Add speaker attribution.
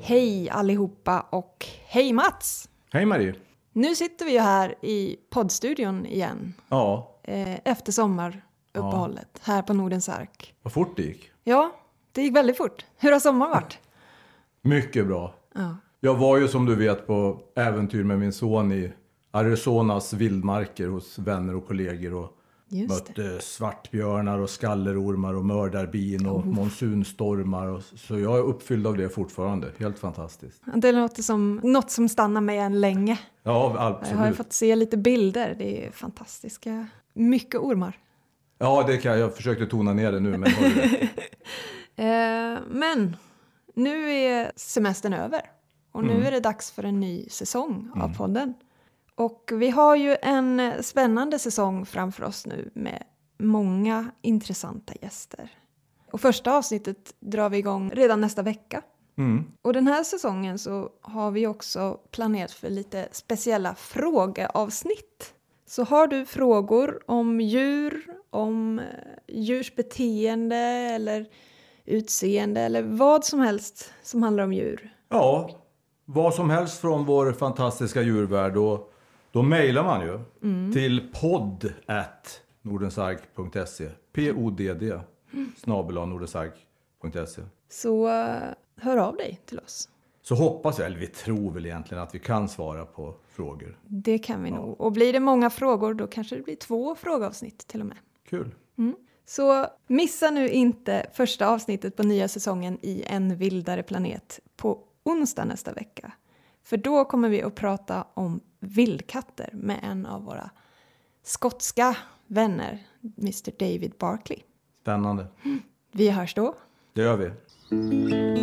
Speaker 1: Hej allihopa och hej Mats!
Speaker 2: Hej Marie!
Speaker 1: Nu sitter vi ju här i poddstudion igen
Speaker 2: Ja,
Speaker 1: eh, efter sommaruppehållet här på Nordens Ark.
Speaker 2: vad fort det gick.
Speaker 1: Ja, det gick väldigt fort. Hur har sommaren varit?
Speaker 2: Mycket bra.
Speaker 1: Ja.
Speaker 2: Jag var ju som du vet på äventyr med min son i Arizonas vildmarker hos vänner och kollegor och
Speaker 1: Just det.
Speaker 2: mötte svartbjörnar och skallerormar och mördarbin och monsunstormar. Och, så jag är uppfylld av det fortfarande. Helt fantastiskt.
Speaker 1: Det låter som något som stannar med en länge.
Speaker 2: Ja,
Speaker 1: Jag har ju
Speaker 2: absolut.
Speaker 1: fått se lite bilder. Det är fantastiska. Mycket ormar.
Speaker 2: Ja, det kan jag. Jag försökte tona ner det nu, men har du rätt.
Speaker 1: Eh, men nu är semestern över och nu är det dags för en ny säsong av podden. Och vi har ju en spännande säsong framför oss nu med många intressanta gäster. Och första avsnittet drar vi igång redan nästa vecka.
Speaker 2: Mm.
Speaker 1: Och den här säsongen så har vi också planerat för lite speciella frågeavsnitt. Så har du frågor om djur, om eh, djurs beteende eller utseende eller vad som helst som handlar om djur.
Speaker 2: Ja, vad som helst från vår fantastiska djurvärld. Och då mejlar man ju till podd at nordensark.se. P-O-D-D snabel nordensark.se.
Speaker 1: Så eh, hör av dig till oss.
Speaker 2: Så hoppas jag, eller vi tror väl egentligen att vi kan svara på frågor.
Speaker 1: Det kan vi nog. Och blir det många frågor då kanske det blir två frågeavsnitt till och med.
Speaker 2: Kul!
Speaker 1: Så missa nu inte första avsnittet på nya säsongen i En vildare planet på onsdag nästa vecka. För då kommer vi att prata om vildkatter med en av våra skotska vänner, Mr David Barkley.
Speaker 2: Spännande.
Speaker 1: Vi hörs då.
Speaker 2: Det gör vi.